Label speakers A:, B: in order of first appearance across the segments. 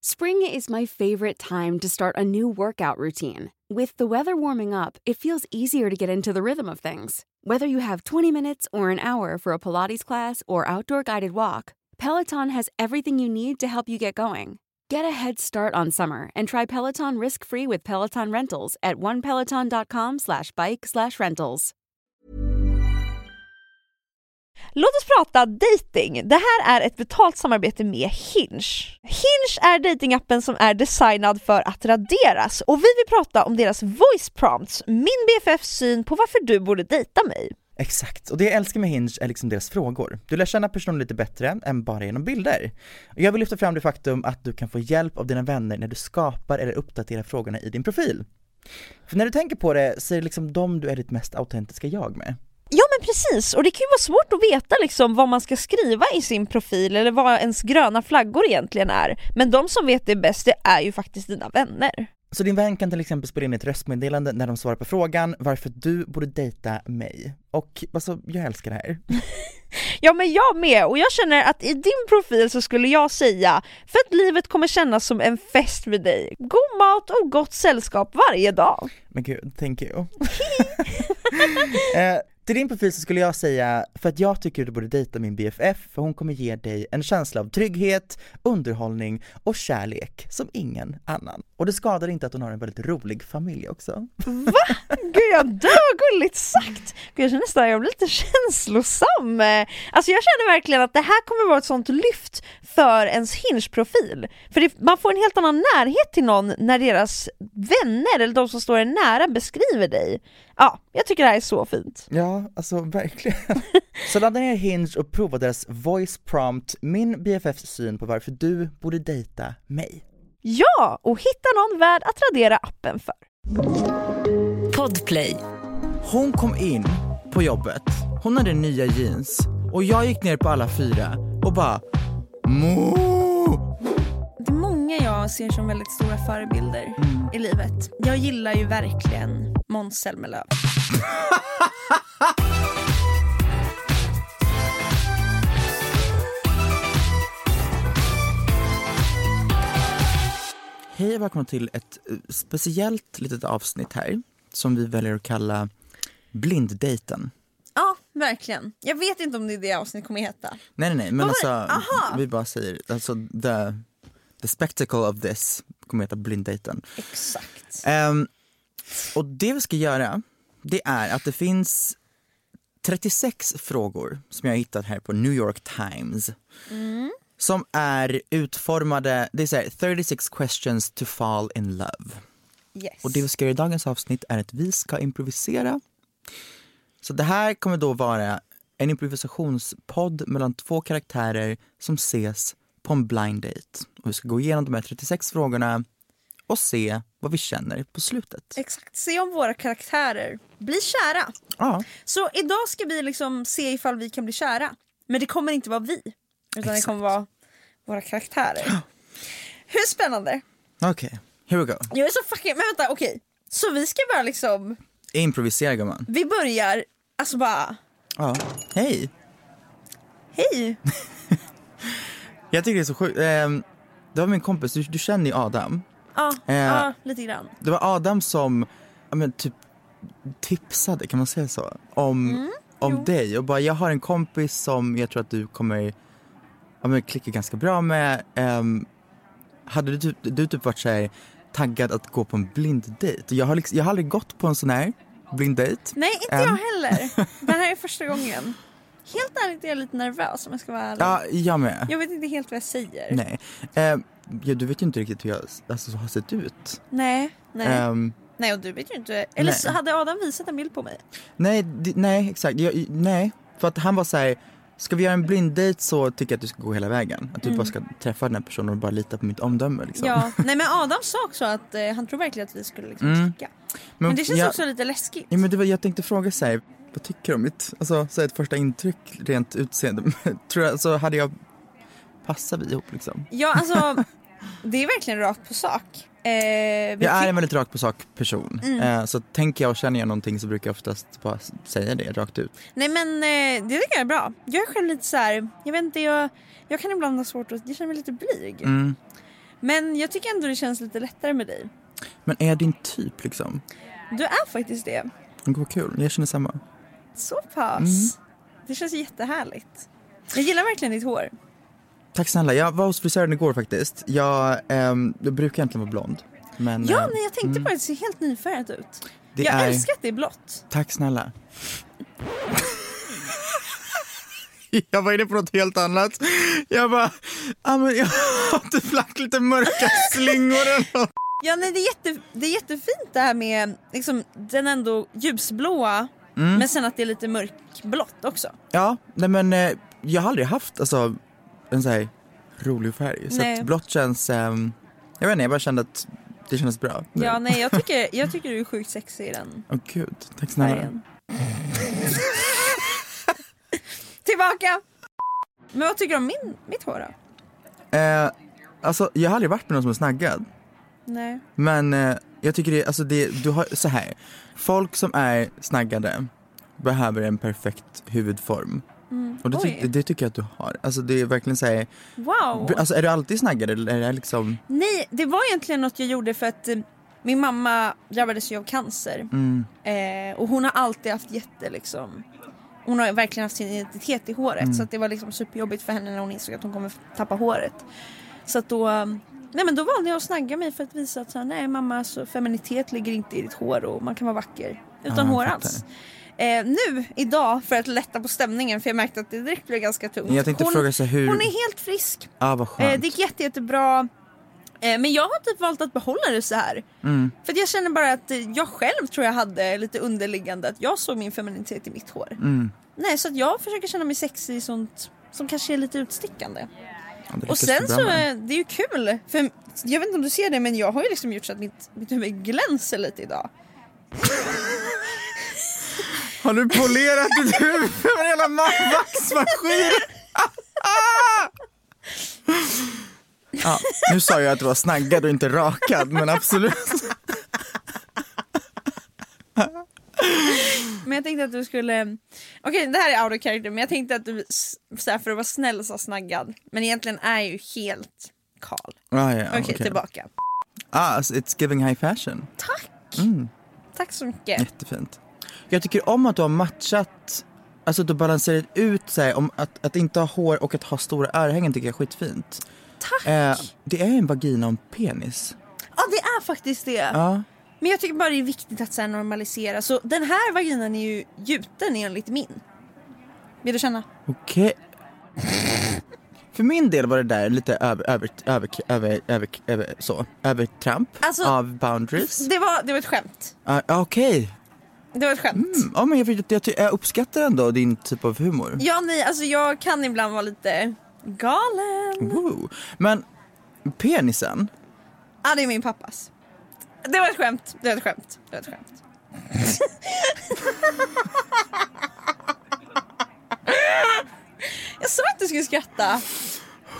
A: Spring is my favorite time to start a new workout routine. With the weather warming up, it feels easier to get into the rhythm of things. Whether you have 20 minutes or an hour for a Pilates class or outdoor guided walk, Peloton has everything you need to help you get going. Get a head start on summer and try Peloton risk-free with Peloton Rentals at onepeloton.com slash bike slash rentals.
B: Låt oss prata dating. Det här är ett betalt samarbete med Hinge. Hinge är datingappen som är designad för att raderas och vi vill prata om deras voice prompts, min BFFs syn på varför du borde dejta mig.
C: Exakt, och det jag älskar med Hinge är liksom deras frågor. Du lär känna personen lite bättre än bara genom bilder. Och jag vill lyfta fram det faktum att du kan få hjälp av dina vänner när du skapar eller uppdaterar frågorna i din profil. För när du tänker på det så är det liksom de du är ditt mest autentiska jag med.
B: Ja men precis, och det kan ju vara svårt att veta liksom vad man ska skriva i sin profil eller vad ens gröna flaggor egentligen är. Men de som vet det bäst det är ju faktiskt dina vänner.
C: Så din vän kan till exempel spela in ett röstmeddelande när de svarar på frågan varför du borde dejta mig. Och alltså, jag älskar det här.
B: Ja men jag med, och jag känner att i din profil så skulle jag säga för att livet kommer kännas som en fest med dig. God mat och gott sällskap varje dag.
C: Men gud, thank you. eh, till din profil så skulle jag säga, för att jag tycker du borde dejta min BFF, för hon kommer ge dig en känsla av trygghet, underhållning och kärlek som ingen annan. Och det skadar inte att hon har en väldigt rolig familj också.
B: Va? Gud jag dör, gulligt sagt! Gud, jag känner nästan att jag blir lite känslosam. Eh, Alltså jag känner verkligen att det här kommer vara ett sånt lyft för ens Hinge-profil. För det, man får en helt annan närhet till någon när deras vänner eller de som står en nära beskriver dig. Ja, jag tycker det här är så fint.
C: Ja, alltså verkligen. så ladda ner Hinge och prova deras voice prompt, min BFFs syn på varför du borde dejta mig.
B: Ja, och hitta någon värd att radera appen för.
D: Podplay.
C: Hon kom in på jobbet, hon hade nya jeans och jag gick ner på alla fyra och bara Mo!
E: Det är många jag ser som väldigt stora förebilder i livet. Jag gillar ju verkligen Måns Zelmerlöw.
C: Hej och välkomna till ett eh, speciellt litet avsnitt här som vi väljer att kalla Blinddejten.
E: Ja, verkligen. Jag vet inte om det är det avsnittet kommer heta.
C: Nej nej nej men
E: Vad
C: alltså
E: var det? Aha.
C: vi bara säger alltså the, the spectacle of this kommer heta Blinddejten.
E: Exakt.
C: Ehm, och det vi ska göra, det är att det finns 36 frågor som jag har hittat här på New York Times. Som är utformade, det är så här, 36 questions to fall in love.
E: Yes.
C: Och det vi ska göra i dagens avsnitt är att vi ska improvisera. Så det här kommer då vara en improvisationspodd mellan två karaktärer som ses på en blind date. Och vi ska gå igenom de här 36 frågorna och se vad vi känner på slutet.
E: Exakt. Se om våra karaktärer blir kära.
C: Ja,
E: Så idag ska vi liksom se ifall vi kan bli kära. Men det kommer inte vara vi. Utan det kommer vara våra karaktärer. Hur spännande?
C: okej. Here we go.
E: Jag är så fucking... Men vänta, okej. Så vi ska bara liksom...
C: Improvisera gumman.
E: Vi börjar, alltså bara...
C: Ja. Hej!
E: Hej!
C: Jag tycker det är så sjukt. Ehm, det var min kompis, du, du känner ju Adam.
E: Ja,
C: Eh.
E: ja lite grann.
C: Det var Adam som ja, men, typ tipsade, kan man säga så? Om,
B: Mm,
C: om dig och bara jag har en kompis som jag tror att du kommer ja, men, klicka ganska bra med. Ehm, hade du, typ- du typ varit så här taggad att gå på en blind dejt? Jag har, liksom, jag har aldrig gått på en sån här blind dejt.
B: Nej, inte
C: Än.
B: jag heller. Det här är första gången. Helt ärligt är jag lite nervös om jag ska vara ärlig.
C: Ja, jag med.
B: Jag vet inte helt vad jag säger.
C: Nej. Eh, ja, du vet ju inte riktigt hur jag alltså, har sett ut.
B: Nej, nej.
C: Ehm,
B: nej och du vet ju inte. Eller så
C: Nej.
B: hade Adam visat en bild på mig?
C: nej, di- nej, exakt. Jag, nej, för att han var så här, ska vi göra en blind dejt så tycker jag att du ska gå hela vägen. Att du bara ska träffa den här personen och bara lita på mitt omdöme. Liksom.
B: Mm. Ja. nej men Adam sa också att eh, han tror verkligen att vi skulle liksom klicka. Men det känns
C: jag,
B: också lite läskigt.
C: Mm. Ja, men det var, jag tänkte fråga så här, vad tycker du om mitt alltså, så här, ett första intryck rent utseende? Tror jag, så hade jag, passar vi ihop liksom?
B: Ja alltså, det är verkligen rakt på sak. Eh, vi Mm.
C: Jag är
B: klick-
C: en väldigt rakt på sak person. Eh, så tänker jag och känner jag någonting så brukar jag oftast bara s- säga det rakt ut.
B: Nej men eh, det tycker jag är bra. Jag är själv lite så här, jag vet inte, jag, jag kan ibland ha svårt att, jag känner mig lite blyg.
C: Mm.
B: Men jag tycker ändå det känns lite lättare med dig.
C: Men är jag din typ liksom?
B: Du är faktiskt det.
C: Men Vad kul, jag känner samma.
B: Så pass.
C: Mm.
B: Det känns jättehärligt. Jag gillar verkligen ditt hår.
C: Tack snälla, jag var hos frisören igår faktiskt. Jag, ehm, jag brukar egentligen vara blond. Men, eh,
B: Ja, nej, jag tänkte på det. Det ser helt nyfärgat ut.
C: Det
B: jag
C: är-
B: älskar att det är blått.
C: Tack snälla. Jag var inne på något helt annat. Jag bara, ah, men jag har typ lagt lite mörka slingor eller något.
B: Ja, nej, det, är jätte, det är jättefint det här med liksom, den ändå ljusblåa
C: Mm.
B: men sen att det är lite mörkblått också.
C: Ja, nej men eh, jag har aldrig haft alltså, en så här rolig färg. Så
B: Nej.
C: att blått känns, ehm, jag vet inte, jag bara kände att det kändes bra. nu.
B: Ja, nej, jag tycker, jag tycker du är sjukt sexig i den
C: Åh gud, tack snälla.
B: färgen. Tillbaka! Men vad tycker du om min, mitt hår då?
C: Eh, alltså, jag har aldrig varit med någon som är snaggad.
B: Nej.
C: Men eh, jag tycker det, alltså det, du har, så här. Folk som är snaggade behöver en perfekt huvudform. Och det,
B: Mm. Oj.
C: ty, det tycker jag att du har. Alltså det är verkligen så här,
B: Wow!
C: alltså är du alltid snaggad eller är det liksom,
B: Nej, det var egentligen något jag gjorde för att eh, min mamma drabbades ju av cancer.
C: Mm.
B: Eh, och hon har alltid haft jätte liksom hon har verkligen haft sin identitet i håret
C: Mm.
B: så att det var liksom superjobbigt för henne när hon insåg att hon kommer tappa håret. Så att då, eh, nej men då valde jag att snagga mig för att visa att så här, nej mamma så feminitet ligger inte i ditt hår och man kan vara vacker utan
C: Ah, jag
B: hår
C: fattar.
B: alls. Eh, nu idag för att lätta på stämningen för jag märkte att det direkt blev ganska tungt.
C: Jag tänkte
B: hon,
C: fråga så hur-
B: hon är helt frisk.
C: ah vad skönt.
B: Eh, det gick jätte, jättebra. Eh, men jag har typ valt att behålla det så här.
C: Mm.
B: För att jag känner bara att eh, jag själv tror jag hade lite underliggande att jag såg min feminitet i mitt hår.
C: Mm.
B: Nej, så att jag försöker känna mig sexig i sånt som kanske är lite utstickande.
C: Ja, det
B: Och
C: lyckas du
B: sen
C: bra
B: så,
C: med.
B: eh, det är ju kul. För jag vet inte om du ser det men jag har ju liksom gjort så att mitt, mitt huvud glänser lite idag.
C: Har du polerat ditt huvud med hela ma- vaxmaskinen? ja, Ah, nu sa jag att du var snaggad och inte rakad, men absolut.
B: Men jag tänkte att du skulle... Okej det här är out of character men jag tänkte att du s- så här, för att vara snäll sa snaggad. Men egentligen är jag ju helt kal.
C: Ah, ja,
B: Okej
C: okej.
B: tillbaka.
C: Ah, alltså, it's giving high fashion.
B: Tack!
C: Mm.
B: Tack så mycket.
C: Jättefint. Jag tycker om att du har matchat, alltså att du balanserat ut så här, om att, att inte ha hår och att ha stora örhängen tycker jag är skitfint.
B: Tack!
C: Eh, det är en vagina och en penis.
B: Ja det är faktiskt det.
C: Ja.
B: Men jag tycker bara det är viktigt att så här normalisera. Så den här vaginan är ju gjuten enligt min. Vill du känna?
C: Okej. För min del var det där lite över, över, över, över, över, över så, övertramp
B: Alltså-
C: av boundaries.
B: Det var, det var ett skämt.
C: Ah, ah, Okej,
B: Det var ett skämt.
C: ja, men jag, vet- jag, ty- jag uppskattar ändå din typ av humor.
B: Ja nej alltså jag kan ibland vara lite galen.
C: Woo. Men penisen,
B: Ja det är min pappas. Det var ett skämt, det var ett skämt, det var ett skämt. jag sa att du skulle skratta.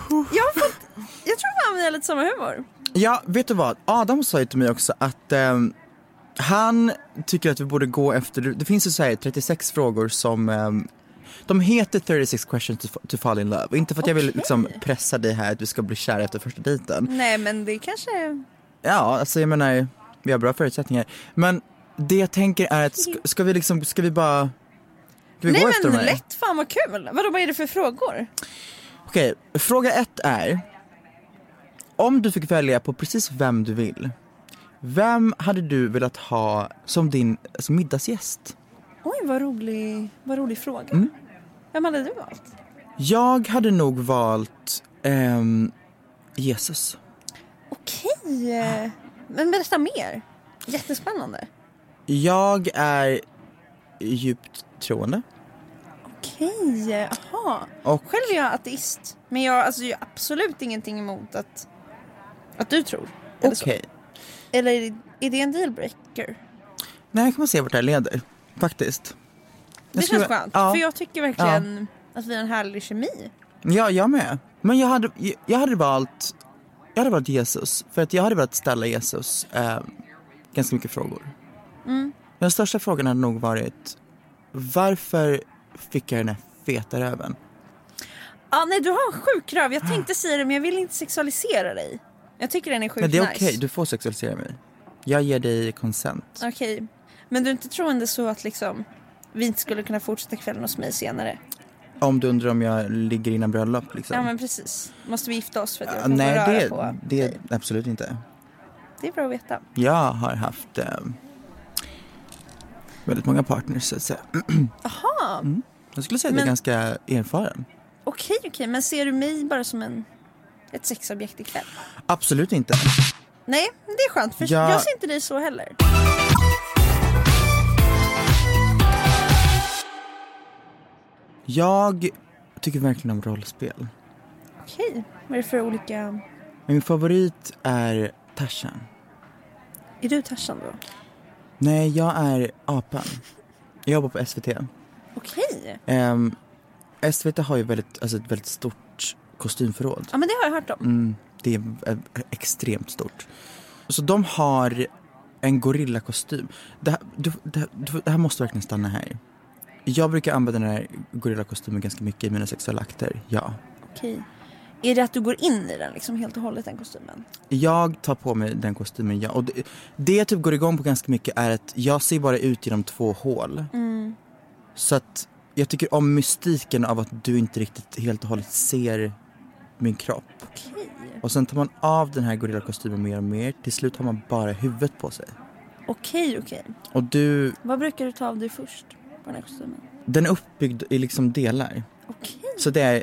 B: Jag har fått, jag tror fan vi har lite samma humor.
C: Ja, vet du vad? Adam sa ju till mig också att ehm, han tycker att vi borde gå efter, det finns ju så här 36 frågor som ehm, de heter 36 questions to, to fall in love. Inte för att jag vill
B: Okej.
C: liksom pressa dig här att du ska bli kär efter första dejten.
B: Nej men det kanske...
C: Ja, alltså jag menar, vi har bra förutsättningar. Men det jag tänker är att ska, ska vi liksom, ska vi bara, ska vi
B: Nej
C: gå efter
B: men
C: de här?
B: lätt fan vad kul! Vadå vad är det för frågor?
C: Okej, fråga ett är Om du fick välja på precis vem du vill, vem hade du velat ha som din alltså, middagsgäst?
B: Oj, vad rolig, vad rolig fråga.
C: Mm.
B: Vem hade du valt?
C: Jag hade nog valt ehm, Jesus.
B: Okej. eh, Men berätta mer. Jättespännande.
C: Jag är djupt troende.
B: Okej, jaha.
C: Och
B: Själv är jag ateist. Men jag alltså, jag har absolut ingenting emot att, att du tror. Eller, så.
C: okej,
B: eller är, det, är det en dealbreaker?
C: Nej, här kan man se vart det här leder. Faktiskt.
B: Det
C: Jag skulle-
B: känns skönt.
C: Ja,
B: För jag tycker verkligen att vi har en härlig kemi.
C: ja, jag med. Men jag hade, jag hade valt jag hade valt Jesus, för att jag hade velat ställa Jesus eh, ganska mycket frågor.
B: Mm.
C: Den största frågan hade nog varit varför fick jag den här feta röven?
B: Ah, nej, du har en sjuk röv. Jag tänkte säga det men jag vill inte sexualisera dig. Jag tycker den är sjukt
C: Ah. Men det är
B: nice.
C: okej, du får sexualisera mig. Jag ger dig consent.
B: Okej. Men du är inte troende så att liksom vi inte skulle kunna fortsätta kvällen hos mig senare?
C: Om du undrar om jag ligger innan bröllop liksom.
B: Ja men precis. Måste vi gifta oss för att jag
C: Ja,
B: kan
C: Ah, Nej,
B: få röra
C: det,
B: på
C: det
B: dig?
C: absolut inte.
B: Det är bra att veta.
C: Jag har haft eh, väldigt många partners så att säga.
B: Jaha,
C: Jag skulle säga att jag är
B: Men-
C: ganska erfaren.
B: okej okej. Men ser du mig bara som en, ett sexobjekt ikväll?
C: Absolut inte.
B: Nej, det är skönt för
C: Ja.
B: jag ser inte dig så heller.
C: Jag tycker verkligen om rollspel.
B: Okej, vad är det för olika...
C: Men min favorit är Tarzan.
B: Är du Tarzan då?
C: Nej, jag är apan. Jag jobbar på SVT.
B: Okej.
C: Ehm, SVT har ju väldigt, alltså ett väldigt stort kostymförråd.
B: Ja men det har jag hört om.
C: Mm, det är eh, extremt stort. Så de har en gorillakostym. Det här, du, det, här- du, det här måste verkligen stanna här. Jag brukar använda den här gorillakostymen ganska mycket i mina sexuella akter, ja.
B: Okej. Är det att du går in i den liksom helt och hållet den kostymen?
C: Jag tar på mig den kostymen, ja. Och det, det jag typ går igång på ganska mycket är att jag ser bara ut genom två hål. Så att jag tycker om mystiken av att du inte riktigt helt och hållet ser min kropp.
B: Okej.
C: Och sen tar man av den här gorillakostymen mer och mer. Till slut har man bara huvudet på sig.
B: Okej okej.
C: Och du,
B: Vad brukar du ta av dig först på den här kostymen?
C: den är uppbyggd i liksom delar.
B: Okej.
C: Så det är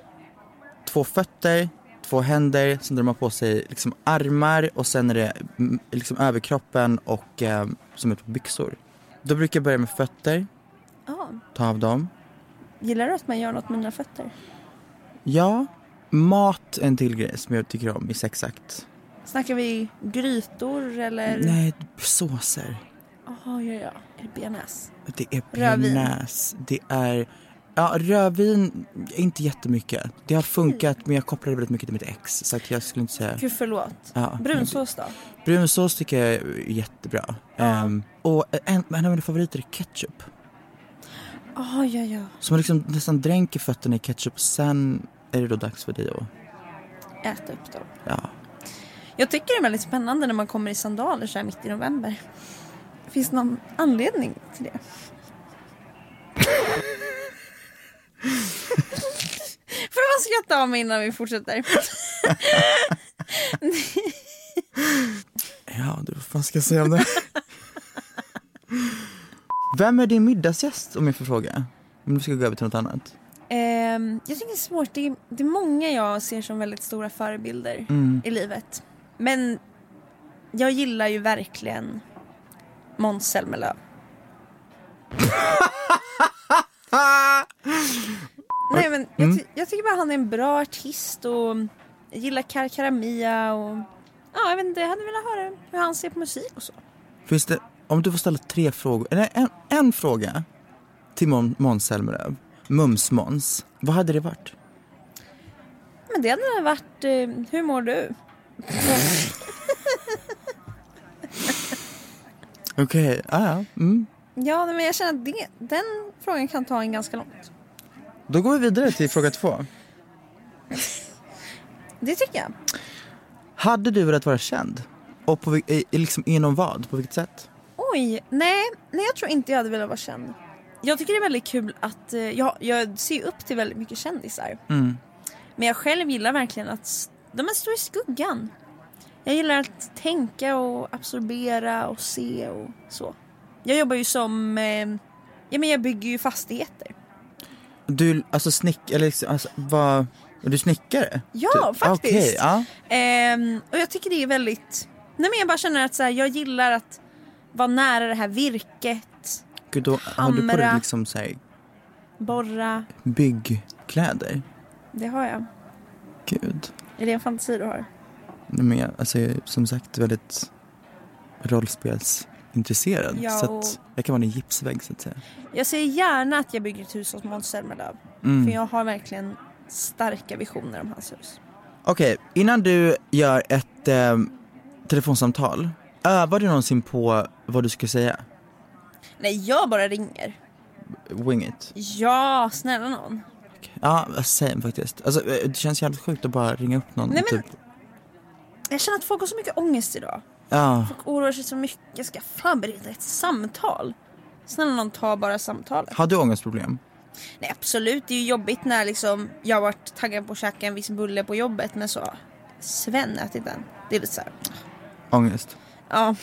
C: två fötter, två händer, sen drar man på sig liksom armar och sen är det mm, liksom överkroppen och eh, som ett par byxor. Då brukar jag börja med fötter,
B: Ja.
C: ta av dem.
B: Gillar du att man gör något med mina fötter?
C: Ja, mat är en till grej som jag tycker om i sexakt.
B: Snackar vi grytor eller?
C: Nej, såser.
B: Jaha, ja, ja. Är det bearnaise?
C: Det är
B: Rödvin.
C: bearnaise, det är... Ja, rödvin, inte jättemycket. Det har funkat men jag kopplar det väldigt mycket till mitt ex så att jag skulle inte säga...
B: Gud, förlåt.
C: Ja,
B: Brunsås då?
C: Brunsås tycker jag är jättebra. Ehm, och en, en av mina favoriter är ketchup.
B: Jaha, Ah, ja, ja.
C: Så man liksom nästan dränker fötterna i ketchup och sen är det då dags för dig att...
B: Äta upp dem.
C: Ja.
B: Jag tycker det är väldigt spännande när man kommer i sandaler så här mitt i november. Finns det någon anledning till det? Får man skratta av mig innan vi fortsätter?
C: Ja, du, vad fan ska jag säga om det? Vem är din middagsgäst om jag får fråga? Om du ska gå över till något annat.
B: Ehm, jag tycker det är svårt. Det är, det är många jag ser som väldigt stora förebilder i livet. Men jag gillar ju verkligen Måns Zelmerlöw. Nej men jag, ty- jag tycker bara han är en bra artist och jag gillar Kar Karamia och ja jag vet inte, jag hade velat höra hur han ser på musik och så.
C: Finns det, om du får ställa tre frågor, eller en, en fråga till Mon- Måns Zelmerlöw, Mums-Måns, vad hade det varit?
B: Men det hade nog varit, eh, hur mår du?
C: Okej, ah, ja, mm.
B: Ja nej, men jag känner att det, den frågan kan ta en ganska långt.
C: Då går vi vidare till fråga två.
B: Det tycker jag.
C: Hade du velat vara känd? Och på, vil- i, i liksom, inom vad? På vilket sätt?
B: Oj, nej, nej jag tror inte jag hade velat vara känd. Jag tycker det är väldigt kul att, eh, jag, jag ser ju upp till väldigt mycket kändisar. Men jag själv gillar verkligen att s- de är står i skuggan. Jag gillar att tänka och absorbera och se och så. Jag jobbar ju som, eh, ja men jag bygger ju fastigheter.
C: Du, alltså snick, eller liksom, alltså, vad, är du snickare?
B: Ja,
C: Typ? Ah,
B: faktiskt.
C: Okej, ja.
B: Ehm, och jag tycker det är väldigt, nej men jag bara känner att så här, jag gillar att vara nära det här virket,
C: Gud, då har du på dig
B: Hamra.
C: liksom så här
B: borra,
C: byggkläder.
B: det har jag.
C: Gud.
B: Är det en fantasi du har?
C: Nej, men jag, alltså, jag är som sagt väldigt rollspelsintresserad.
B: Ja,
C: så
B: och-
C: att jag kan vara en gipsvägg så att säga.
B: Jag ser gärna att jag bygger ett hus åt Måns Zelmerlöw.
C: Mm.
B: För jag har verkligen starka visioner om hans hus.
C: Okej, innan du gör ett eh, telefonsamtal, övar du någonsin på vad du ska säga?
B: Nej, jag bara ringer.
C: Wing it.
B: Ja, snälla någon.
C: Ja, same faktiskt. Alltså, eh, det känns jävligt sjukt att bara ringa upp någon.
B: Nej, men-
C: typ.
B: Jag känner att folk har så mycket ångest idag.
C: Ja,
B: Folk oroar sig så mycket. Jag ska förbereda ett samtal. Snälla någon, ta bara samtalet.
C: har du ångestproblem?
B: Nej absolut, det är ju jobbigt när liksom jag har varit taggad på att käka en viss bulle på jobbet men så Sven ätit den. Det är lite såhär,
C: Ångest?
B: ja.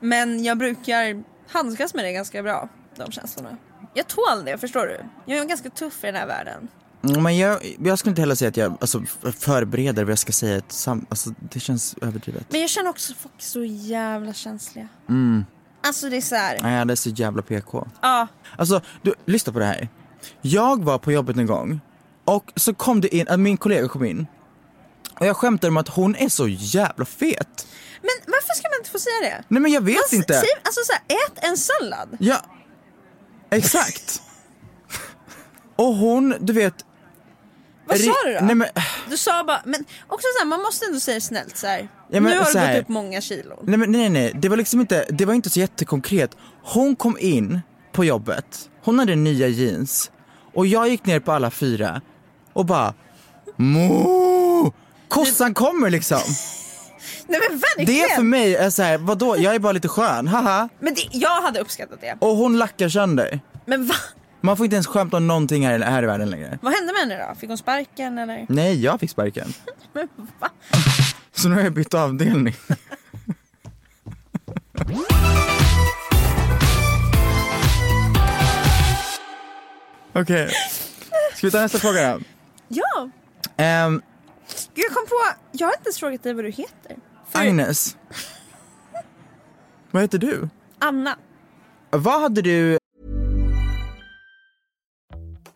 B: men jag brukar handskas med det ganska bra, de känslorna. Jag tål det, förstår du? Jag är ganska tuff i den här världen.
C: Mm, Men jag, jag skulle inte heller säga att jag alltså, f- förbereder vad jag ska säga. i Ett sam- alltså, det känns överdrivet.
B: Men jag känner också att folk är så jävla känsliga.
C: Mm.
B: Alltså det är såhär,
C: Nej, det är så jävla PK.
B: ja.
C: Alltså, du, lyssna på det här. Jag var på jobbet en gång och så kom det in, äh, min kollega kom in och jag skämtade om att hon är så jävla fet.
B: Men varför ska man inte få säga det?
C: Nej men jag vet
B: Alltså,
C: inte.
B: Säg, alltså såhär, ät en sallad.
C: Ja, exakt. och hon, du vet.
B: Vad sa
C: ri-
B: du då?
C: Nej men,
B: Du sa bara, men också såhär, man måste ändå säga det snällt såhär.
C: Ja, men
B: nu har
C: så
B: du
C: här-
B: gått upp många kilon.
C: nej, men, nej, nej, det var liksom inte, det var inte så jättekonkret. Hon kom in på jobbet, hon hade nya jeans och jag gick ner på alla fyra och bara Mo! Kossan kommer liksom.
B: Nej men verkligen!
C: Det för mig är så här, vadå jag är bara lite skön, haha.
B: Men det, jag hade uppskattat det.
C: Och hon lackar sönder.
B: Men va?
C: Man får inte ens skämta om någonting här, här i världen längre.
B: Vad hände med henne då? Fick hon sparken eller?
C: Nej, jag fick sparken.
B: Men va?
C: Så nu har jag bytt avdelning. Okej, ska vi ta nästa fråga då?
B: Ja,
C: Ehm,
B: Gud, jag kom på, jag har inte ens frågat dig vad du heter. För
C: Agnes. Vad heter du?
B: Anna.
C: Vad hade du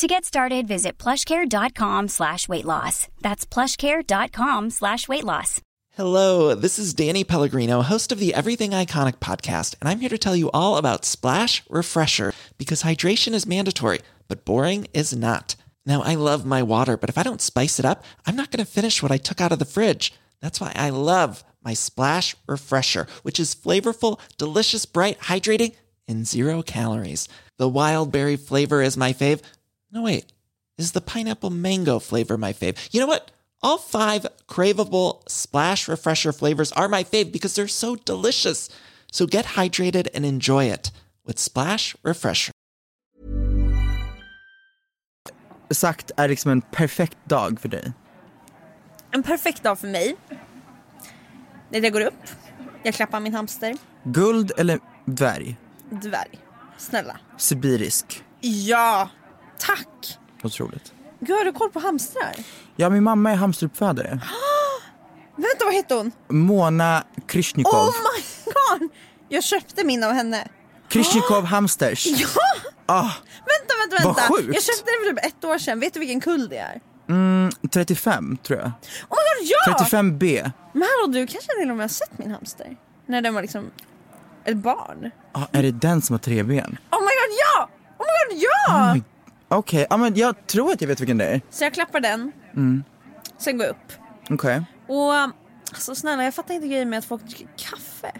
F: To get started, visit plushcare.com slash weight loss. That's plushcare.com slash weight loss.
G: Hello, this is Danny Pellegrino, host of the Everything Iconic podcast, and I'm here to tell you all about Splash Refresher because hydration is mandatory, but boring is not. Now, I love my water, but if I don't spice it up, I'm not going to finish what I took out of the fridge. That's why I love my Splash Refresher, which is flavorful, delicious, bright, hydrating, and zero calories. The wild berry flavor is my fave. No, wait. Is the pineapple mango flavor my fave? You know what? All five craveable splash refresher flavors are my fave because they're so delicious. So get hydrated and enjoy it with Splash Refresher.
C: sagt är liksom en perfekt dag för dig?
B: En perfekt dag för mig. När jag går upp, jag klappar min hamster.
C: Guld eller dvärg?
B: Dvärg. Snälla.
C: Sibirisk.
B: Ja, tack.
C: Otroligt.
B: Gud, har du koll på hamstrar?
C: Ja, min mamma är hamsteruppfödare.
B: Vänta, vad hette hon?
C: Mona Krishnikov.
B: Oh my god! Jag köpte min av henne.
C: Krishnikov Hamsters.
B: Ja!
C: Ah,
B: Vänta, vänta,
C: Vad
B: vänta.
C: sjukt.
B: Jag köpte den för typ ett år sedan. Vet du vilken kull det är?
C: 35 tror jag.
B: Oh my god, ja!
C: 35B.
B: Men hallå, du kanske till och med har sett min hamster? När den var liksom ett barn.
C: Ah, är det den som har tre ben?
B: Oh my god, ja! Oh my god, ja!
C: Oj. Okej, ja, men jag tror att jag vet vilken det är.
B: Så jag klappar den.
C: Mm.
B: Sen går jag upp.
C: Okej. Mm,
B: Och alltså snälla, jag fattar inte grejen med att folk dricker kaffe.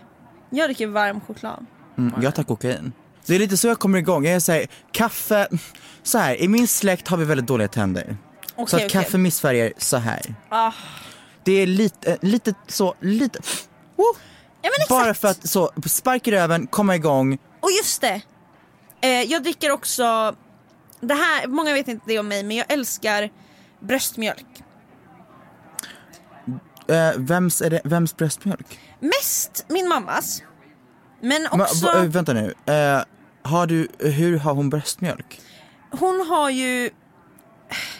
B: Jag dricker varm choklad.
C: Mm, jag tar kokain. Det är lite så jag kommer igång. Jag är såhär, kaffe, så här, i min släkt har vi väldigt dåliga tänder. så att
B: okej.
C: kaffe missfärgar så här.
B: Ah.
C: Det är lite, eh, lite så, lite, oh,
B: Ja, men exakt.
C: bara för att så, spark i röven, komma igång.
B: Och just det! Eh, jag dricker också, det här, många vet inte det om mig, men jag älskar bröstmjölk.
C: Eh, vems, är det, vems bröstmjölk?
B: Mest min mammas. Men
C: Ma-
B: också,
C: va- eh, vänta nu, Eh, har du, hur har hon bröstmjölk?
B: hon har ju,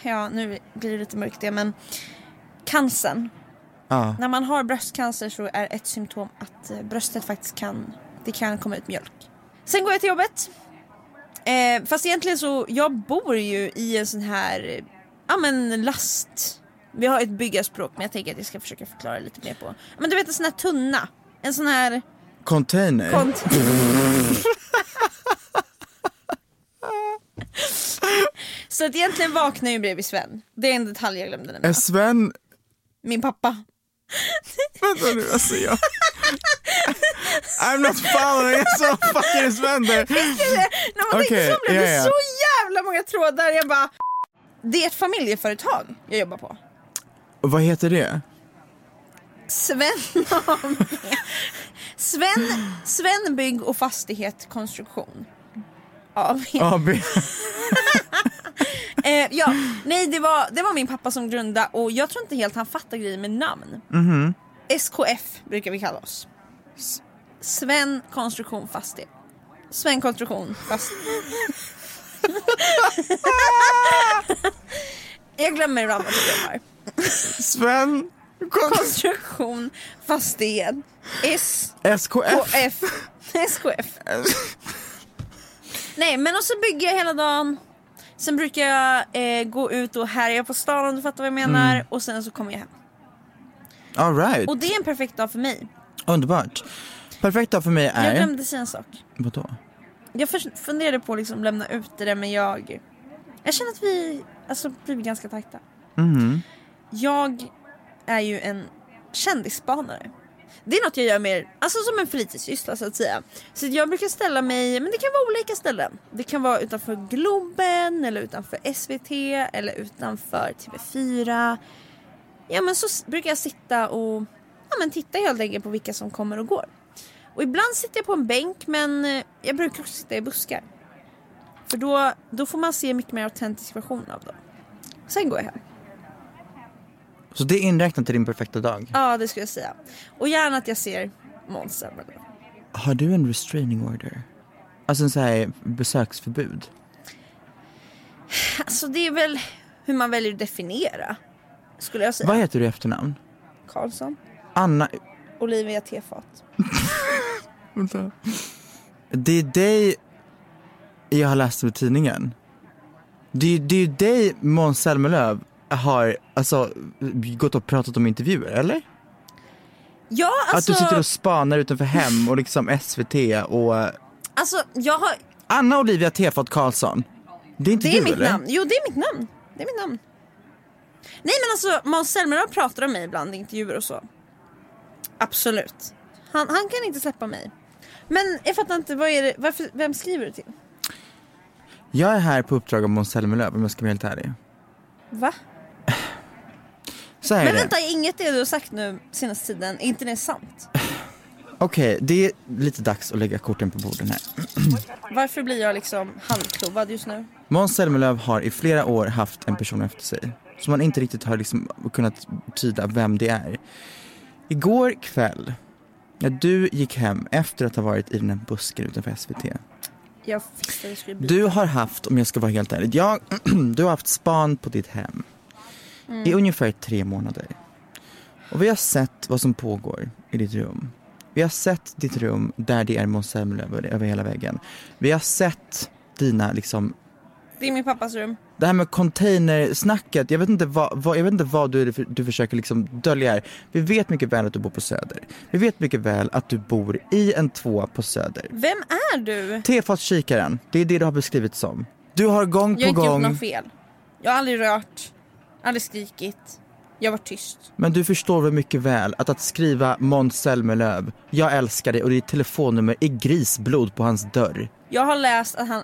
B: ja nu blir det lite mörkt det men, cancern.
C: Ja.
B: När man har bröstcancer så är ett symptom att eh, bröstet faktiskt kan, det kan komma ut mjölk. Sen går jag till jobbet. Eh, fast egentligen så, jag bor ju i en sån här, eh, ja men last. Vi har ett byggarspråk men jag tänker att jag ska försöka förklara lite mer på. Men du vet en sån här tunna. En sån här
C: Container?
B: kont... så att egentligen vaknar jag ju bredvid Sven. Det är en detalj jag glömde nämna.
C: är Eh, Sven,
B: Min pappa.
C: vänta nu alltså jag. I'm not following, jag sa fucking Sven där.
B: När man
C: Okej,
B: tänker så blev
C: ja,
B: det
C: ja.
B: så jävla många trådar. Jag bara, det är ett familjeföretag jag jobbar på.
C: Och Vad heter det?
B: Sven har med. Sven, Sven Bygg och Fastighet Konstruktion. AB.
C: AB.
B: Eh, ja, nej det var, det var min pappa som grundade och jag tror inte helt han fattar grejen med namn. SKF brukar vi kalla oss. S- Sven Konstruktion Fastighet. Sven Konstruktion Fastighet. jag glömmer ibland vad jag glömmer.
C: Sven.
B: Konstruktion Fastighet. S
C: SKF.
B: SKF. SKF. Nej men och så bygger jag hela dagen. Sen brukar jag eh, gå ut och härja på stan om du fattar vad jag menar. Och sen så kommer jag hem.
C: All right.
B: Och det är en perfekt dag för mig.
C: Underbart. Perfekt dag för mig
B: Jag
C: är...
B: glömde säga en sak.
C: Vadå?
B: Jag förs- funderade på att liksom lämna ut det där men jag... Jag känner att vi alltså, blir ganska tajta. Jag är ju en kändisspanare. Det är något jag gör mer, alltså som en fritidssyssla så att säga. Så att jag brukar ställa mig, men det kan vara olika ställen. Det kan vara utanför Globen eller utanför SVT eller utanför TV4. Ja men så s- brukar jag sitta och ja, men titta helt enkelt på vilka som kommer och går. Och ibland sitter jag på en bänk men eh, jag brukar också sitta i buskar. För då, då får man se mycket mer autentisk version av dem. Sen går jag hem.
C: Så det är inräknat i din perfekta dag.
B: Ja det skulle jag säga. Och gärna att jag ser Måns Zelmerlöw.
C: Har du en restraining order? Alltså en sån här besöksförbud?
B: Alltså det är väl hur man väljer att definiera. Skulle jag säga.
C: Vad heter du i efternamn?
B: Karlsson.
C: Anna...
B: Olivia Tefat.
C: Vänta. Det är dig jag har läst om i tidningen. Det är det är ju dig Måns Zelmerlöw har alltså, gått och pratat om i intervjuer, eller?
B: Ja
C: Att
B: alltså.
C: du sitter och spanar utanför hem och liksom SVT och
B: Alltså jag har.
C: Anna Olivia Tefat Karlsson. Det är inte
B: Det
C: du
B: är mitt
C: eller?
B: namn. Jo det är mitt namn. Det är mitt namn. Nej men alltså Måns Zelmerlöw pratar om mig ibland i intervjuer och så. Absolut. Han, han kan inte släppa mig. Men jag fattar inte, vad är det, varför, vem skriver du till?
C: Jag är här på uppdrag av Måns Zelmerlöw om jag ska vara helt ärlig.
B: Va?
C: Så här är
B: Men
C: det.
B: vänta, inget det du har sagt nu senaste tiden, är inte det sant?
C: Okej, det är lite dags att lägga korten på borden här.
B: Varför blir jag liksom handklovad just nu?
C: Måns Zelmerlöw har i flera år haft en person efter sig som man inte riktigt har liksom kunnat tyda vem det är. Igår kväll, när du gick hem efter att ha varit i den här busken utanför SVT.
B: Jag visste det skulle bli.
C: Du har haft, om jag ska vara helt ärlig, jag, du har haft span på ditt hem i ungefär tre månader. Och vi har sett vad som pågår i ditt rum. Vi har sett ditt rum där det är Måns Zelmerlöw över, över hela väggen. Vi har sett dina liksom
B: Det är min pappas rum.
C: det här med containersnacket, jag vet inte vad, vad, jag vet inte vad du, du försöker liksom dölja här. Vi vet mycket väl att du bor på Söder. Vi vet mycket väl att du bor i en tvåa på Söder.
B: Vem är du?
C: Tefatkikaren, det är det du har beskrivit som. Du har gång
B: Jag har
C: på
B: inte gjort
C: gång,
B: något fel. Jag har aldrig rört, aldrig skrikit. Jag var tyst.
C: men du förstår väl mycket väl att att skriva Måns Zelmerlöw, jag älskar dig och ditt telefonnummer är grisblod på hans dörr.
B: Jag har läst att han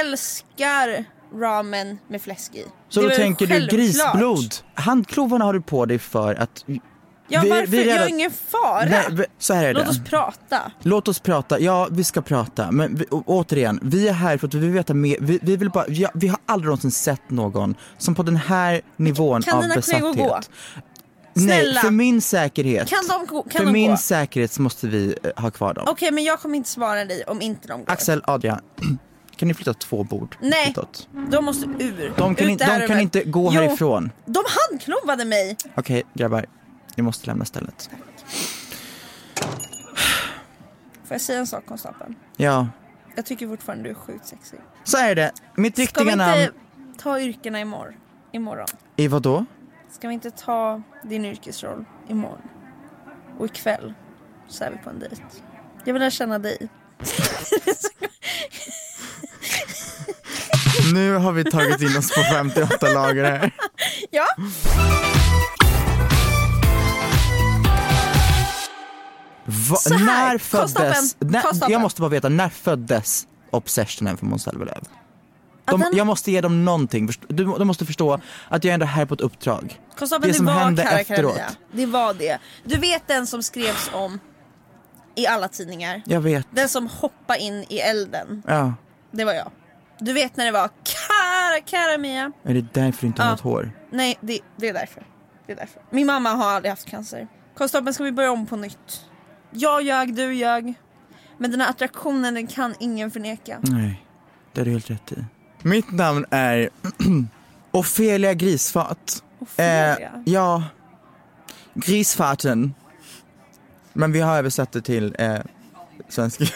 B: älskar ramen med fläsk i.
C: Så
B: Det
C: då
B: var
C: tänker du
B: självklart.
C: grisblod. Handklovarna har du på dig för att...
B: Ja,
C: Vi-
B: varför?
C: vi är
B: jag
C: redan-
B: har ingen fara.
C: Nej, vi- så här är det.
B: Låt oss prata.
C: Låt oss prata, ja vi ska prata men vi, å- återigen, vi är här för att vi vill veta mer, vi, vi vill bara, ja, vi har aldrig någonsin sett någon som på den här nivån
B: Kan
C: av
B: dina kollegor
C: besatthet.
B: gå?
C: Nej,
B: Snälla.
C: för min säkerhet.
B: Kan de gå? Kan
C: för
B: de
C: min
B: gå?
C: säkerhet så måste vi eh, ha kvar dem.
B: Okej, men jag kommer inte svara dig om inte de går.
C: Axel, Adrian, kan ni flytta två bord
B: Nej.
C: utåt?
B: De måste ur.
C: De kan,
B: ut
C: in,
B: det här
C: de kan
B: rummet.
C: inte gå
B: Jo,
C: härifrån.
B: De handknuvade mig.
C: Okej grabbar, ni måste lämna stället.
B: Får jag säga en sak konstapeln?
C: Ja,
B: Jag tycker fortfarande du är sjukt sexig.
C: så är det. Mitt
B: Ska vi
C: riktiga namn
B: inte ta yrkena imorgon? imorgon?
C: är vadå?
B: Ska vi inte ta din yrkesroll imorgon? Och ikväll så är vi på en dejt. Jag vill lära känna dig.
C: Nu har vi tagit in oss på 58 lager här.
B: Ja,
C: Va,
B: Så här,
C: när föddes,
B: konstapeln,
C: när,
B: konstapeln.
C: jag måste bara veta, när föddes obsessionen för Måns Zelmerlöw?
B: Att
C: De,
B: den-
C: jag måste ge dem någonting, Först- du, de måste förstå att jag är ändå här på ett uppdrag.
B: konstapeln
C: Det
B: det,
C: som
B: var
C: hände
B: Karakararia.
C: efteråt.
B: Det var det. Du vet den som skrevs om i alla tidningar?
C: Jag vet.
B: Den som hoppade in i elden.
C: Ja,
B: Det var jag. Du vet när det var Kara, Kara Mia.
C: är det därför du inte har
B: Ja.
C: något hår?
B: Nej, det, det, är därför. det är därför. Min mamma har aldrig haft cancer. Konstapeln, ska vi börja om på nytt? Jag ljög, du ljög. Men den här attraktionen den kan ingen förneka.
C: Nej, det har du helt rätt i. Mitt namn är Ofelia Grisfat. Eh,
B: Ofelia?
C: ja, Grisfaten. Men vi har översatt det till eh, svenska.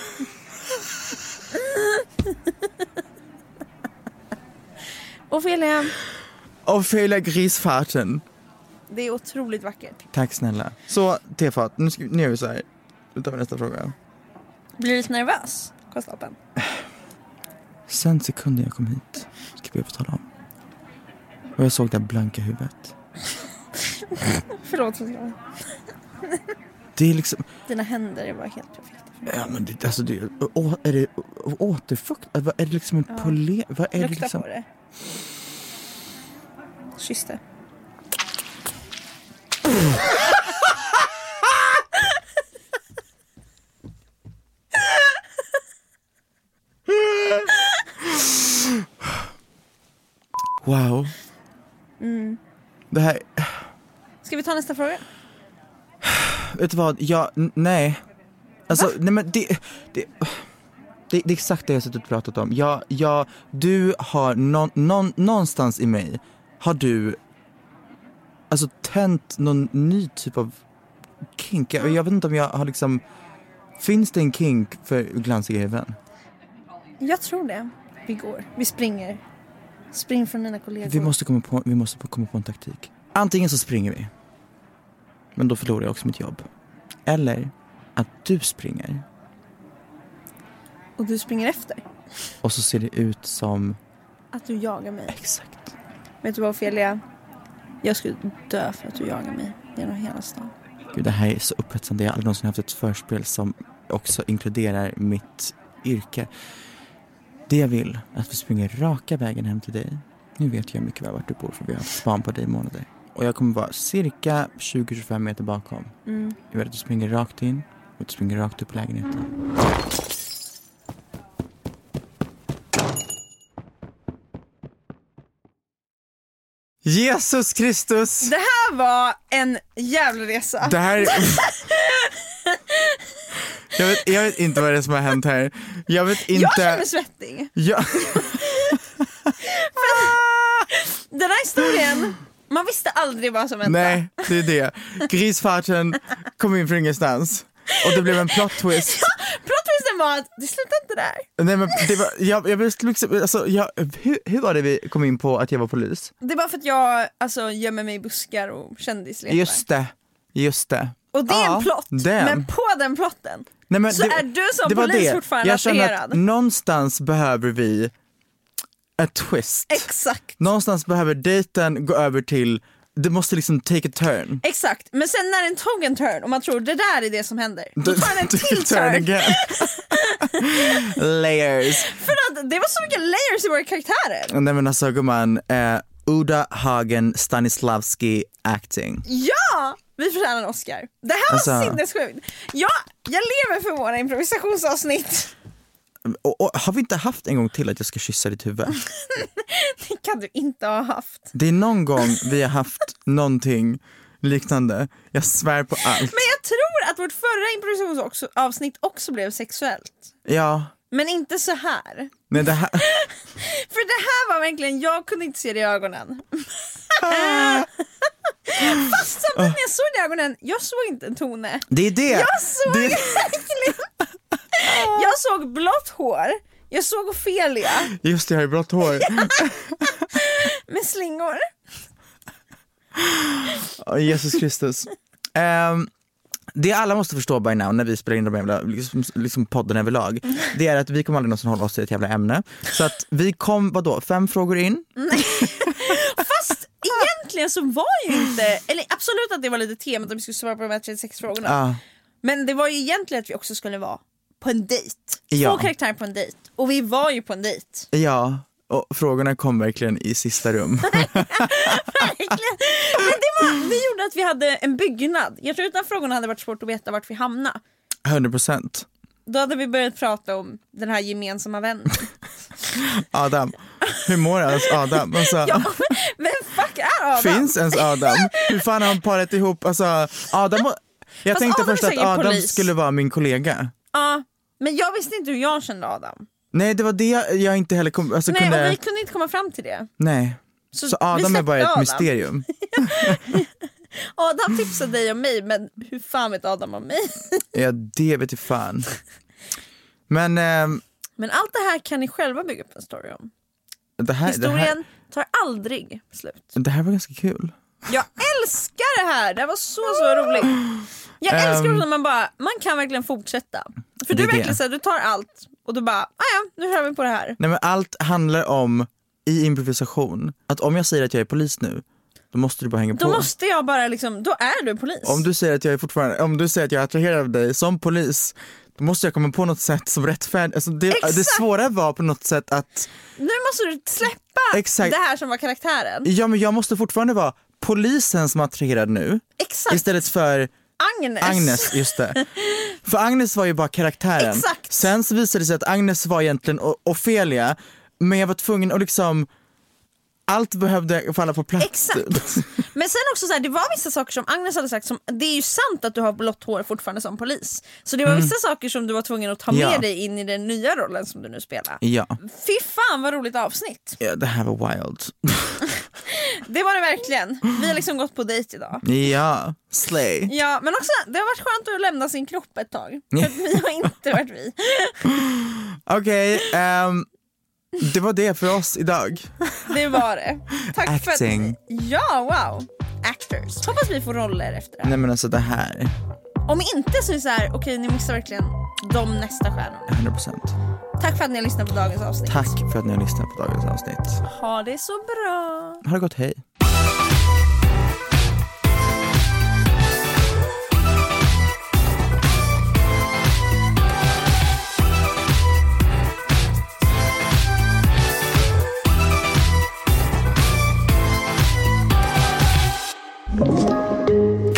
B: Ofelia,
C: Ofelia Grisfaten.
B: det är otroligt vackert.
C: Tack snälla. Så Tefat, nu, ska, nu gör vi så här. Då tar vi nästa fråga.
B: Blir du lite nervös, konstapeln?
C: Sen sekunden jag kom hit ska jag få tala om. Och jag såg det här blanka huvudet.
B: Förlåt, Ofelia.
C: Det är liksom,
B: dina händer är bara helt perfekta. för mig.
C: ja men det, alltså det, å, är det å, återfukt? Vad är det liksom en pole? Vad är det
B: Lukta
C: liksom?
B: på det. Kyss det.
C: Wow.
B: Mm.
C: Det här,
B: Ska vi ta nästa fråga?
C: vet du vad, jag, n- nej. Alltså nej men det, det, det, det är exakt det jag suttit och pratat om. Jag, jag, du har nån, nån, någonstans i mig har du alltså tänt någon ny typ av kink. Jag, jag vet inte om jag har liksom, finns det en kink för glansiga huvuden?
B: Jag tror det. Vi går. Vi springer. Spring från dina kollegor.
C: Vi måste, komma på, vi måste komma på en taktik. Antingen så springer vi, men då förlorar jag också mitt jobb. Eller att du springer
B: Och du springer efter.
C: och så ser det ut som
B: Att du jagar mig.
C: Exakt.
B: Vet du vad Ofelia? Jag skulle dö för att du jagar mig genom hela stan.
C: Gud, det här är så upphetsande. Jag har aldrig någonsin haft ett förspel som också inkluderar mitt yrke. Det jag vill är att vi springer raka vägen hem till dig. Nu vet jag mycket väl vart du bor för vi har haft span på dig i månader. Och jag kommer vara cirka 20-25 meter bakom. Jag vet att du springer rakt in och att du springer rakt upp i lägenheten. Jesus Kristus!
B: Det här var en jävla resa.
C: Det här... Jag vet, jag vet inte vad det är som har hänt här. Jag vet inte...
B: Jag känner mig svettig.
C: jag...
B: Den här historien, man Man visste aldrig vad som hände.
C: Nej, det är det. Grisfarten kom in från ingenstans. Och det blev en plot twist.
B: Plottwisten var att det slutar inte där.
C: Nej, men det var, jag, jag, blev liksom- alltså, jag, hur, hur var det vi kom in på att jag var polis?
B: Det var för att jag alltså, gömmer mig i buskar och kändisletar.
C: Just det, just det.
B: Och det är
C: Ja,
B: en plott,
C: damn.
B: men på den plotten
C: Nej, men
B: så är du som
C: det var
B: polis
C: det.
B: fortfarande
C: Jag känner
B: attraherad.
C: att någonstans behöver vi a twist.
B: Exakt,
C: någonstans behöver dejten gå över till, det måste liksom take a turn.
B: exakt. Men sen när den tog en turn och man tror det där är det som händer, då tar den en till turn.
C: again. Layers.
B: För att det var så mycket layers i våra karaktärer.
C: Nej men alltså gumman, eh, Uda Hagen Stanislavski acting.
B: Ja! Vi förtjänar en Oscar. Det här var
C: Alltså-
B: sinnessjukt. Ja, jag lever för våra improvisationsavsnitt.
C: Och, och, har vi inte haft en gång till att jag ska kyssa ditt huvud?
B: Det kan du inte ha haft.
C: Det är någon gång vi har haft någonting liknande. Jag svär på allt.
B: Men jag tror att vårt förra improvisationsavsnitt också blev sexuellt.
C: Ja,
B: Men inte så här.
C: nej det här...
B: För det här var verkligen, jag kunde inte se det i ögonen. Fast samtidigt när jag såg det i ögonen, jag såg inte en tone.
C: Det är det!
B: Jag såg
C: det...
B: verkligen... Jag såg blått hår, jag såg Ofelia
C: Just det, jag har ju blått hår.
B: med slingor.
C: Åh, Jesus Kristus. Ehm, det alla måste förstå by now när vi spelar in de här jävla, liksom, liksom podden överlag, det är att vi kommer aldrig någonsin hålla oss till ett jävla ämne. Så att vi kom, vadå, fem frågor in?
B: Fast egentligen så var ju inte, eller absolut att det var lite temat att vi skulle svara på de här 36 frågorna.
C: Ja.
B: Men det var ju egentligen att vi också skulle vara på en dejt.
C: Ja.
B: Två karaktärer på en dejt. Och vi var ju på en dejt.
C: Ja, och frågorna kom verkligen i sista rum.
B: Verkligen. Men det, var, det gjorde att vi hade en byggnad. Jag tror utan frågorna hade det varit svårt att veta vart vi hamnade.
C: 100 procent.
B: Då hade vi börjat prata om den här gemensamma vännen.
C: Adam, hur mår ens Adam? Alltså,
B: Ja, vem fuck är Adam?
C: Finns ens Adam? Hur fan har han parat ihop? Alltså, Adam... Jag
B: Fast
C: tänkte
B: Adam är
C: först att
B: säkert
C: Adam
B: polis.
C: skulle vara min kollega.
B: Ja, men jag visste inte hur jag kände Adam.
C: Nej, det var det jag, jag inte heller kom... Alltså,
B: Nej,
C: kunde...
B: och vi kunde inte komma fram till det.
C: Nej. Så,
B: Så vi
C: Adam är
B: släppte
C: bara ett
B: Adam.
C: mysterium.
B: Adam tipsade dig om mig, men hur fan vet Adam om mig?
C: Ja, det vet jag fan. Men ehm,
B: Men allt det här kan ni själva bygga upp en story om.
C: det, här, det, här,
B: Historien tar aldrig slut.
C: det här var ganska kul.
B: Jag älskar det här! Det här var så så roligt. Jag älskar också när man bara, man kan verkligen fortsätta. För
C: Ehm. Det
B: du
C: är
B: är verkligen
C: det.
B: såhär, du tar allt och du bara, "Ah ja, nu kör vi på det här.
C: Nej, men allt handlar om, i improvisation, att om jag säger att jag är polis nu, då måste du bara hänga
B: Då
C: på.
B: måste jag bara liksom, då är du polis.
C: Om du säger att jag är fortfarande, om du säger att jag är attraherad av dig som polis, då måste jag komma på något sätt som rättfärdigt. Alltså det, det
B: Exakt.
C: svåra var på något sätt att,
B: Nu måste du släppa
C: Exakt.
B: det här som var karaktären.
C: ja men jag måste fortfarande vara polisen som är attraherad nu,
B: Exakt,
C: istället för
B: Agnes.
C: Agnes, just det. För Agnes var ju bara karaktären.
B: Exakt.
C: Sen så visade det sig att Agnes var egentligen O- Ofelia, men jag var tvungen att liksom, allt behövde falla på plats. typ.
B: Exakt. Men sen också så här, det var vissa saker som Agnes hade sagt som, det är ju sant att du har blått hår fortfarande som polis. Så det var vissa saker som du var tvungen att ta med
C: Mm. Ja.
B: dig in i den nya rollen som du nu spelar.
C: Ja.
B: Fy fan vad roligt avsnitt.
C: ja, det här var wild.
B: Det var det verkligen. Vi har liksom gått på dejt idag.
C: Ja, slay.
B: Ja, men också det har varit skönt att lämna sin kropp ett tag. För att vi har inte varit vi.
C: Okej, ehm, det var det för oss idag.
B: Det var det. Tack för
C: Acting.
B: att... Ja, wow. Actors. Hoppas vi får roller efter det här.
C: Nej men alltså det här,
B: Om inte så är det så här, okej ni missar verkligen de nästa stjärnorna.
C: 100%.
B: Tack för att ni har lyssnat på dagens avsnitt.
C: Tack för att ni har lyssnat på dagens avsnitt.
B: Ha det så bra.
C: Ha det gott, hej.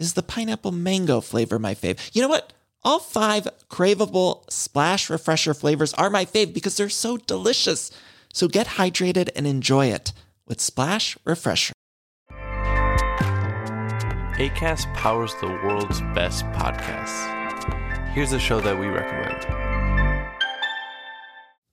G: Is the pineapple mango flavor my fave? You know what? All five craveable splash refresher flavors are my fave because they're so delicious. So get hydrated and enjoy it with Splash Refresher.
H: ACAST powers the world's best podcasts. Here's a show that we recommend.